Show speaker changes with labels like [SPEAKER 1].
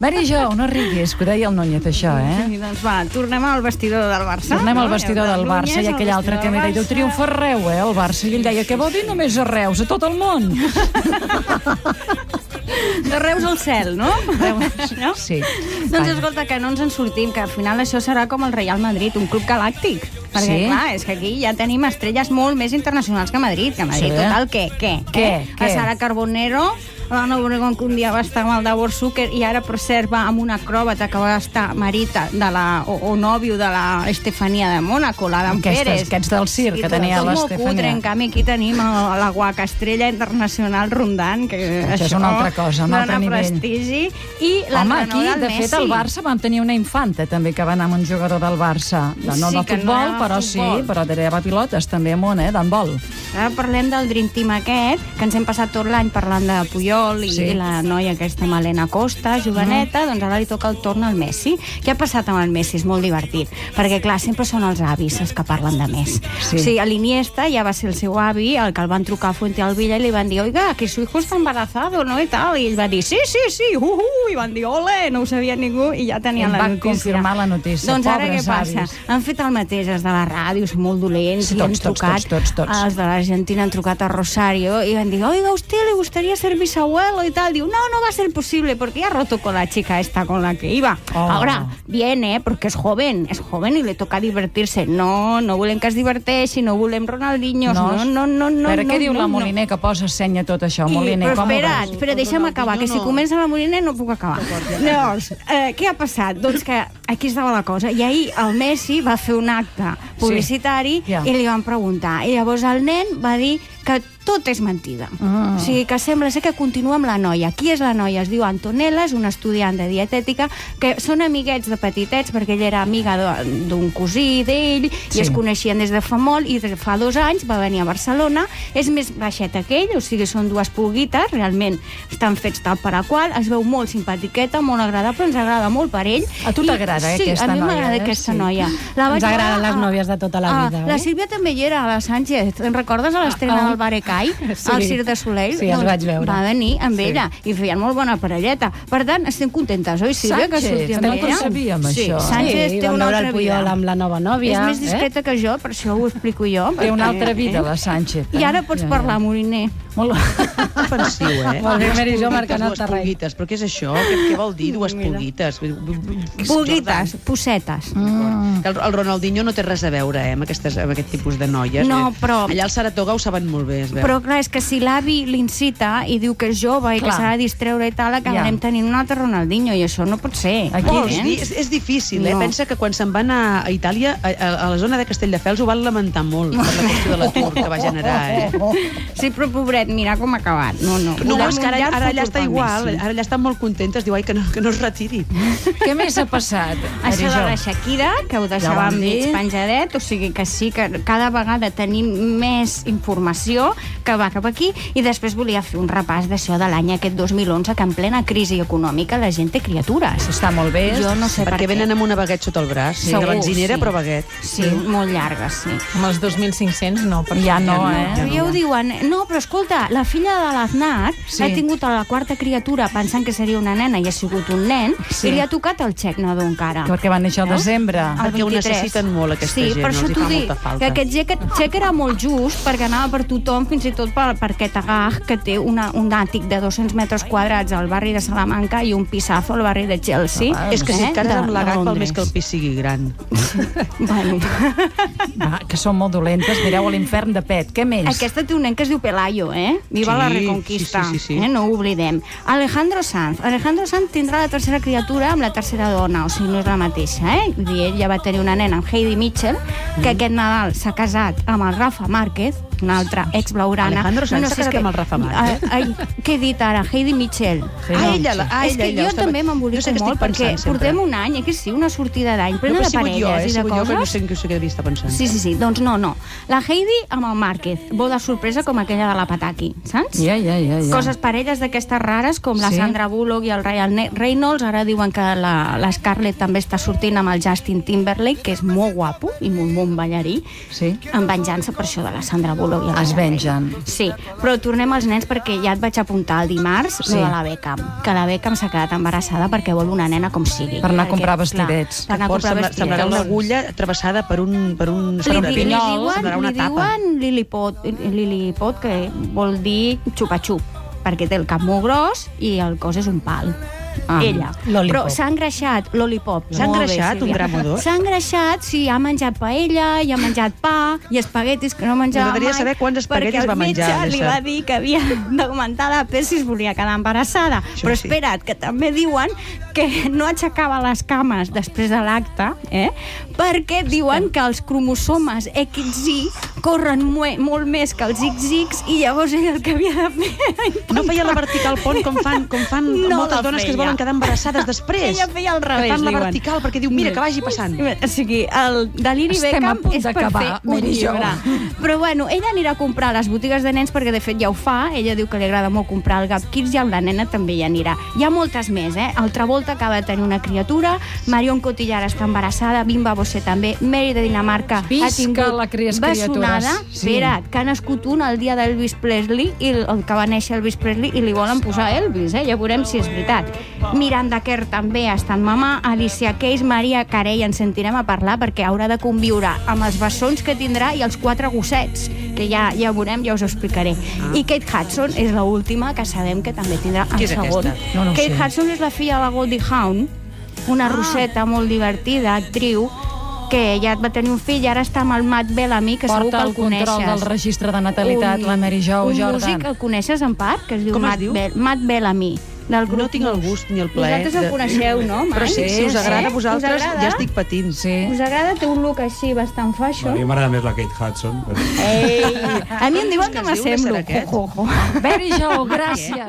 [SPEAKER 1] Maria Jo, no riguis, que ho deia el Nollet, això, eh?
[SPEAKER 2] Sí, doncs va, tornem al vestidor del Barça.
[SPEAKER 1] Tornem al
[SPEAKER 2] No?
[SPEAKER 1] vestidor
[SPEAKER 2] Ja,
[SPEAKER 1] del
[SPEAKER 2] de
[SPEAKER 1] Barça i
[SPEAKER 2] Núñez,
[SPEAKER 1] aquell
[SPEAKER 2] al
[SPEAKER 1] altre
[SPEAKER 2] vestidor
[SPEAKER 1] que
[SPEAKER 2] del
[SPEAKER 1] m'he dit,
[SPEAKER 2] Barça.
[SPEAKER 1] triomfa arreu, eh, el Barça. I ell deia, què vol dir només a Reus, a tot el món?
[SPEAKER 2] De Reus al cel, no? no?
[SPEAKER 1] Sí.
[SPEAKER 2] Doncs
[SPEAKER 1] Vaja.
[SPEAKER 2] escolta, que no ens en sortim, que al final això serà com el Real Madrid, un club galàctic. Perquè,
[SPEAKER 1] Sí?
[SPEAKER 2] clar, és que aquí ja tenim estrelles molt més internacionals que Madrid, que Madrid,
[SPEAKER 1] Sí.
[SPEAKER 2] total, què, què?
[SPEAKER 1] Què,
[SPEAKER 2] eh?
[SPEAKER 1] què?
[SPEAKER 2] La Sara Carbonero, l'Anna Obregón, que un dia va estar amb el Davor Zucker, i ara, per cert, va amb una acròbata que va estar marita de la, o, o nòvio de la Estefania de Mónaco, l'Adam
[SPEAKER 1] Aquestes-
[SPEAKER 2] Pérez.
[SPEAKER 1] aquests del circ
[SPEAKER 2] I
[SPEAKER 1] que
[SPEAKER 2] tot,
[SPEAKER 1] tenia
[SPEAKER 2] tot molt
[SPEAKER 1] l'Estefania.
[SPEAKER 2] Cutre, en canvi, aquí tenim el- la guaca estrella internacional rondant, que
[SPEAKER 1] Això és una altra cosa, un altre
[SPEAKER 2] dona
[SPEAKER 1] nivell.
[SPEAKER 2] prestigi. I
[SPEAKER 1] Home, aquí,
[SPEAKER 2] l'entrenador del
[SPEAKER 1] de
[SPEAKER 2] Messi.
[SPEAKER 1] fet, al Barça vam tenir una infanta, eh, també, que va anar amb un jugador del Barça. De, no
[SPEAKER 2] Sí,
[SPEAKER 1] de
[SPEAKER 2] que no
[SPEAKER 1] futbol,
[SPEAKER 2] era
[SPEAKER 1] però
[SPEAKER 2] futbol.
[SPEAKER 1] sí, però tirava pilotes, també amunt, eh, d'handbol.
[SPEAKER 2] Ara parlem del Dream Team aquest, que ens hem passat tot l'any parlant de Puyol i,
[SPEAKER 1] Sí. Mm.
[SPEAKER 2] i la noia aquesta Malena Costa, joveneta, doncs ara li toca el torn al Messi. Què ha passat amb el Messi? És molt divertit, perquè clar, sempre són els avis els que parlen de més.
[SPEAKER 1] Sí.
[SPEAKER 2] O sigui, a l'Iniesta ja va ser el seu avi, el que el van trucar a Fuente al Villa i li van dir, oiga, que su hijo está embarazado, no? I tal, i ell va dir, sí, sí, sí, uh, uh, i van dir, ole, no ho sabia ningú, i ja tenien
[SPEAKER 1] Em
[SPEAKER 2] la
[SPEAKER 1] van
[SPEAKER 2] notícia.
[SPEAKER 1] confirmar la notícia,
[SPEAKER 2] Doncs ara què
[SPEAKER 1] pobres
[SPEAKER 2] passa?
[SPEAKER 1] avis.
[SPEAKER 2] Han fet el mateix, els de la ràdio, són molt dolents,
[SPEAKER 1] Sí,
[SPEAKER 2] i han
[SPEAKER 1] tots, tots,
[SPEAKER 2] trucat
[SPEAKER 1] tots, tots, tots.
[SPEAKER 2] els de l'Argentina han trucat a Rosario y han dicho, oiga, a usted le gustaría ser bisabuelo y tal. Digo, no, no va a ser posible porque ya ha roto con la chica esta con la que iba.
[SPEAKER 1] Oh.
[SPEAKER 2] Ahora viene porque es joven, es joven y le toca divertirse. No, no volem que es diverteixi, no volem Ronaldinho, no, no, no, no.
[SPEAKER 1] Però
[SPEAKER 2] no,
[SPEAKER 1] què diu
[SPEAKER 2] no,
[SPEAKER 1] la
[SPEAKER 2] no.
[SPEAKER 1] Moliner, que posa senya a tot això?
[SPEAKER 2] I,
[SPEAKER 1] Moliner,
[SPEAKER 2] però
[SPEAKER 1] com ho
[SPEAKER 2] espera,
[SPEAKER 1] veus?
[SPEAKER 2] espera, deixa'm acabar, que si comença la Moliner no puc acabar. Llavors, eh, què ha passat? Doncs que aquí estava la cosa. I ahir el Messi va fer un acte publicitari
[SPEAKER 1] Ja.
[SPEAKER 2] i li van preguntar. I llavors el nen va dir que tot és mentida.
[SPEAKER 1] Ah.
[SPEAKER 2] O sigui, que sembla ser que continua amb la noia. Qui és la noia? Es diu Antonella, és una estudiant de dietètica, que són amiguets de petitets, perquè ella era amiga de- d'un cosí d'ell,
[SPEAKER 1] Sí.
[SPEAKER 2] i es coneixien des de fa molt, i des de fa dos anys va venir a Barcelona. És més baixeta que ell, o sigui, són dues pulguites, realment estan fets tal per a qual, es veu molt simpatiqueta, molt agradable, ens agrada molt per ell.
[SPEAKER 1] A tu
[SPEAKER 2] I-
[SPEAKER 1] t'agrada, eh,
[SPEAKER 2] sí,
[SPEAKER 1] aquesta
[SPEAKER 2] a mi
[SPEAKER 1] noia,
[SPEAKER 2] m'agrada
[SPEAKER 1] eh?
[SPEAKER 2] aquesta
[SPEAKER 1] Sí.
[SPEAKER 2] noia.
[SPEAKER 3] Ens
[SPEAKER 2] veure
[SPEAKER 3] agraden les
[SPEAKER 2] a-
[SPEAKER 3] nòvies de tota la
[SPEAKER 2] a-
[SPEAKER 3] vida,
[SPEAKER 2] Ah, La
[SPEAKER 3] oi?
[SPEAKER 2] Sílvia també hi era, la Sánchez. Te'n recordes a l'estrena
[SPEAKER 3] Ah, ah.
[SPEAKER 2] del Barecai?
[SPEAKER 3] Sí.
[SPEAKER 2] Al Cirque de Soleil?
[SPEAKER 3] Sí, els
[SPEAKER 2] Doncs
[SPEAKER 3] vaig veure.
[SPEAKER 2] Va venir amb
[SPEAKER 3] Sí.
[SPEAKER 2] ella i feien molt bona parella. Per tant, estem contentes, oi, Sílvia,
[SPEAKER 1] Sánchez,
[SPEAKER 2] que surti amb
[SPEAKER 1] no
[SPEAKER 2] ella?
[SPEAKER 1] ho sabíem,
[SPEAKER 2] sí,
[SPEAKER 1] això.
[SPEAKER 2] Sánchez
[SPEAKER 3] sí,
[SPEAKER 2] té
[SPEAKER 3] vam
[SPEAKER 2] una
[SPEAKER 3] veure
[SPEAKER 2] altra
[SPEAKER 3] el Puyol
[SPEAKER 2] vida.
[SPEAKER 3] amb la eh? nova nòvia.
[SPEAKER 2] És més discreta que jo, per això ho explico jo.
[SPEAKER 1] Té una
[SPEAKER 2] perquè-
[SPEAKER 1] altra vida, la Sánchez.
[SPEAKER 2] Eh? I
[SPEAKER 1] eh?
[SPEAKER 2] ara pots
[SPEAKER 1] Ja, ja.
[SPEAKER 2] parlar, Moliner.
[SPEAKER 1] Molt...
[SPEAKER 4] ofensiu, eh?
[SPEAKER 3] Molt bé, Mary Jo,
[SPEAKER 4] Dues
[SPEAKER 3] marcant el
[SPEAKER 4] dues
[SPEAKER 3] terreny.
[SPEAKER 4] pulguites, però què és això? Què, què vol dir dues pulguites? Vull dir, bu- bu- bu-
[SPEAKER 2] Pulguites, posetes.
[SPEAKER 3] Mm.
[SPEAKER 4] Jordan, Que el, el Ronaldinho no té res a veure eh, amb, aquestes, amb aquest tipus de noies.
[SPEAKER 2] No,
[SPEAKER 4] Eh,
[SPEAKER 2] però-
[SPEAKER 4] Allà al Saratoga ho saben molt bé, es veu.
[SPEAKER 2] Però clar, és que si l'avi l'incita i diu que és jove i que
[SPEAKER 1] Clar.
[SPEAKER 2] s'ha de distreure i tal,
[SPEAKER 1] Ja.
[SPEAKER 2] acabarem tenint un altre Ronaldinho i això no pot ser.
[SPEAKER 1] Aquí-
[SPEAKER 4] Vols
[SPEAKER 2] Entens?
[SPEAKER 4] dir? És, és difícil, eh?
[SPEAKER 2] No.
[SPEAKER 4] Pensa que quan se'n van a, a Itàlia, a, a, a la zona de Castelldefels, ho van lamentar molt per la qüestió de l'atur que va generar, eh?
[SPEAKER 2] Sí, però pobret, mira com ha acabat. No, no.
[SPEAKER 4] No,
[SPEAKER 2] Volem
[SPEAKER 4] és que ara,
[SPEAKER 2] un llarg
[SPEAKER 4] ara allà
[SPEAKER 2] futur
[SPEAKER 4] està
[SPEAKER 2] pel
[SPEAKER 4] igual,
[SPEAKER 2] Messi.
[SPEAKER 4] ara allà estan molt contentes, diu, ai, que no, que no es retiri.
[SPEAKER 1] Què més ha passat, Mary
[SPEAKER 2] Això de
[SPEAKER 1] Jo?
[SPEAKER 2] la Shakira, que ho deixàvem
[SPEAKER 1] vam
[SPEAKER 2] mig
[SPEAKER 1] dir.
[SPEAKER 2] penjadet, o sigui que sí que cada vegada tenim més informació que va cap aquí, i després volia fer un repàs d'això de l'any aquest 2011, que en plena crisi econòmica la gent té criatures.
[SPEAKER 1] Està molt bé.
[SPEAKER 2] Jo no sé per
[SPEAKER 4] Perquè
[SPEAKER 2] què.
[SPEAKER 4] venen amb una baguet sota el braç,
[SPEAKER 2] Segur,
[SPEAKER 4] de benzinera,
[SPEAKER 2] sí.
[SPEAKER 4] però baguet.
[SPEAKER 2] Sí, molt llargues, sí.
[SPEAKER 5] Amb els 2.500 no, perquè
[SPEAKER 1] Ja no, eh?
[SPEAKER 2] Ja, ja ho diuen. No, però escolta, la filla de l'Aznar
[SPEAKER 1] Sí.
[SPEAKER 2] sí. ha tingut a la quarta criatura pensant que seria una nena i ha sigut un nen
[SPEAKER 1] Sí.
[SPEAKER 2] i li ha tocat el xec nadó encara.
[SPEAKER 1] Perquè va néixer al
[SPEAKER 2] Veus?
[SPEAKER 1] desembre.
[SPEAKER 2] El
[SPEAKER 4] Perquè ho
[SPEAKER 2] 23.
[SPEAKER 4] necessiten molt, aquesta
[SPEAKER 2] sí,
[SPEAKER 4] gent,
[SPEAKER 2] per
[SPEAKER 4] els
[SPEAKER 2] això
[SPEAKER 4] hi
[SPEAKER 2] t'ho
[SPEAKER 4] fa
[SPEAKER 2] dic,
[SPEAKER 4] molta falta.
[SPEAKER 2] que aquest xec, xec era molt just perquè anava per tothom, fins i tot per, per aquest agaj que té una, un àtic de 200 metres quadrats al barri de Salamanca i un pisazo al barri de Chelsea.
[SPEAKER 1] Ah,
[SPEAKER 4] És que si
[SPEAKER 2] eh,
[SPEAKER 4] et cases
[SPEAKER 2] de-
[SPEAKER 4] amb la
[SPEAKER 2] de
[SPEAKER 4] GAC, val
[SPEAKER 2] Londres.
[SPEAKER 4] més que el pis sigui gran.
[SPEAKER 2] Bueno,
[SPEAKER 1] Va, que són molt dolentes. Mireu a l'infern de pet. Què més?
[SPEAKER 2] Aquesta té un nen que es diu Pelayo, eh? Viva
[SPEAKER 4] Sí,
[SPEAKER 2] la Reconquista,
[SPEAKER 4] sí, sí, sí, sí.
[SPEAKER 2] Eh? no ho oblidem. Alejandro Sanz. Alejandro Sanz tindrà la tercera criatura amb la tercera dona, o sigui, no és la mateixa, eh? Vull dir, ell ja va tenir una nena amb Heidi Mitchell,
[SPEAKER 4] Mm.
[SPEAKER 2] que aquest Nadal s'ha casat amb el Rafa Márquez, una altra ex-blaurana.
[SPEAKER 4] Alejandro Sanz s'ha
[SPEAKER 2] si és
[SPEAKER 4] casat amb el Rafa Márquez?
[SPEAKER 2] Ai, ai, què he dit ara? Heidi Mitchell.
[SPEAKER 1] Heidi
[SPEAKER 4] Ah, ella, la- ah,
[SPEAKER 2] és que
[SPEAKER 4] ella, ella,
[SPEAKER 2] jo
[SPEAKER 4] estava-
[SPEAKER 2] també m'embolico
[SPEAKER 4] Jo sé que estic
[SPEAKER 2] molt, perquè
[SPEAKER 4] pensant sempre.
[SPEAKER 2] portem un any, eh, que sí, una sortida d'any,
[SPEAKER 4] No,
[SPEAKER 2] plena
[SPEAKER 4] però
[SPEAKER 2] de
[SPEAKER 4] he sigut
[SPEAKER 2] parelles
[SPEAKER 4] jo, eh?
[SPEAKER 2] i de
[SPEAKER 4] sigut jo, que no
[SPEAKER 2] coses.
[SPEAKER 4] sé en què us havia vist pensant.
[SPEAKER 2] Sí, sí, sí. Doncs no, no. La Heidi amb el Márquez, boda sorpresa com aquella de la Pataki, saps?
[SPEAKER 1] Ja, ja, ja. ja.
[SPEAKER 2] Coses parelles d'aquestes rares, com la
[SPEAKER 1] Sí.
[SPEAKER 2] Sandra Bullock i el Ryan Ne- Reynolds. Ara diuen que la, la Scarlett també està sortint amb el Justin Timberlake, que és molt guapo i molt bon ballarí,
[SPEAKER 1] Sí.
[SPEAKER 2] en venjança per això de la Sandra Bullock. I el
[SPEAKER 1] Es
[SPEAKER 2] Ryan
[SPEAKER 1] vengen.
[SPEAKER 2] Reynolds. Sí, però tornem als nens perquè ja et vaig apuntar el dimarts
[SPEAKER 1] Sí.
[SPEAKER 2] sí. de la Beckham, que la Beckham s'ha quedat embarassada perquè vol una nena com sigui.
[SPEAKER 1] Per anar a comprar
[SPEAKER 2] Perquè, clar,
[SPEAKER 1] vestidets.
[SPEAKER 2] Per anar a
[SPEAKER 4] Llavors
[SPEAKER 2] comprar
[SPEAKER 4] sembla- semblarà
[SPEAKER 2] vestidets.
[SPEAKER 4] una agulla travessada per un... Per un per
[SPEAKER 2] Li,
[SPEAKER 4] un
[SPEAKER 2] di, li
[SPEAKER 4] pinyol,
[SPEAKER 2] diuen,
[SPEAKER 4] semblarà una
[SPEAKER 2] li
[SPEAKER 4] tapa.
[SPEAKER 2] diuen Lilliput, Lilliput, que vol dir xupa-xup, perquè té el cap molt gros i el cos és un pal.
[SPEAKER 1] Ah.
[SPEAKER 2] Ella.
[SPEAKER 5] Lollipop.
[SPEAKER 2] Però s'ha engreixat, lollipop.
[SPEAKER 4] S'ha
[SPEAKER 2] Molt bé,
[SPEAKER 4] engreixat, un
[SPEAKER 2] Sílvia.
[SPEAKER 4] gram o dos?
[SPEAKER 2] S'ha engreixat, sí, ha menjat paella, i ha menjat pa, i espaguetis que no menjava
[SPEAKER 4] M'agradaria
[SPEAKER 2] mai.
[SPEAKER 4] saber quants espaguetis
[SPEAKER 2] perquè
[SPEAKER 4] va
[SPEAKER 2] Perquè
[SPEAKER 4] menjar,
[SPEAKER 2] el metge li
[SPEAKER 4] Alessa.
[SPEAKER 2] va dir que havia d'augmentar de pes si es volia quedar embarassada.
[SPEAKER 4] Això
[SPEAKER 2] Però
[SPEAKER 4] sí.
[SPEAKER 2] espera't, que també diuen que no aixecava les cames després de l'acte, eh? perquè diuen que els cromosomes XY corren mue- molt més que els XX i llavors ell el que havia de fer era
[SPEAKER 4] No feia la vertical pont com fan, com fan
[SPEAKER 2] No
[SPEAKER 4] moltes
[SPEAKER 2] la
[SPEAKER 4] dones que es
[SPEAKER 2] feia.
[SPEAKER 4] volen quedar embarassades després.
[SPEAKER 2] Ella feia al revés,
[SPEAKER 4] Que fan la
[SPEAKER 2] diuen.
[SPEAKER 4] vertical perquè diu, mira, que vagi passant.
[SPEAKER 2] O sigui, el deliri
[SPEAKER 1] Estem a
[SPEAKER 2] Beckham
[SPEAKER 1] punt
[SPEAKER 2] és per
[SPEAKER 1] d'acabar,
[SPEAKER 2] fer un
[SPEAKER 1] Mary Jo.
[SPEAKER 2] llibre. Però bueno, ella anirà a comprar a les botigues de nens perquè de fet ja ho fa, ella diu que li agrada molt comprar el Gap Kids i amb la nena també hi anirà. Hi ha moltes més, eh? Altra volta acaba de tenir una criatura, Marion Cotillard està embarassada, Bimba Bosé també, Mary de Dinamarca ha
[SPEAKER 1] Visca
[SPEAKER 2] tingut
[SPEAKER 1] la cries
[SPEAKER 2] bessonada.
[SPEAKER 1] criatures. Sí.
[SPEAKER 2] Espera't, que ha nascut un el dia d'Elvis Presley i el el que va néixer Elvis Presley i li volen posar Elvis, eh? ja veurem si és veritat. Miranda Kerr també ha estat mamà, Alicia Keys, Maria Carey, ens sentirem a parlar perquè haurà de conviure amb els bessons que tindrà i els quatre gossets, que ja ja veurem, ja us ho explicaré. I Kate Hudson és l'última que sabem que també tindrà el
[SPEAKER 4] Qui és
[SPEAKER 2] segon.
[SPEAKER 4] aquesta?
[SPEAKER 1] No, no ho
[SPEAKER 2] Kate
[SPEAKER 1] sé.
[SPEAKER 2] Hudson és la filla de la Goldie Hawn, una ah. rosseta molt divertida, actriu, que ja va tenir un fill i ara està amb el Matt Bellamy, que segur que
[SPEAKER 1] Porta
[SPEAKER 2] el,
[SPEAKER 1] el control
[SPEAKER 2] coneixes.
[SPEAKER 1] del registre de natalitat, la Mary Jo
[SPEAKER 2] un
[SPEAKER 1] Jordan.
[SPEAKER 2] músic el coneixes en part, que es diu,
[SPEAKER 4] Com es
[SPEAKER 2] Matt,
[SPEAKER 4] diu?
[SPEAKER 2] Be Matt Bellamy. Del grup
[SPEAKER 4] No tinc el gust ni el plaer.
[SPEAKER 2] Vosaltres el
[SPEAKER 4] de-
[SPEAKER 2] coneixeu, no, mai?
[SPEAKER 4] Però sí, si us
[SPEAKER 1] Sí,
[SPEAKER 4] agrada
[SPEAKER 2] sí.
[SPEAKER 4] a vosaltres,
[SPEAKER 2] Us agrada?
[SPEAKER 4] ja estic patint.
[SPEAKER 1] Sí.
[SPEAKER 2] Us agrada? Té un look així bastant
[SPEAKER 3] A mi
[SPEAKER 2] fashion.
[SPEAKER 3] m'agrada més la Kate Hudson. Però...
[SPEAKER 2] Ei, a mi em diuen que
[SPEAKER 4] Com es diu,
[SPEAKER 2] m'assemblo.
[SPEAKER 4] aquest?
[SPEAKER 2] Jo, jo, jo.
[SPEAKER 1] Mary Jo, gràcies.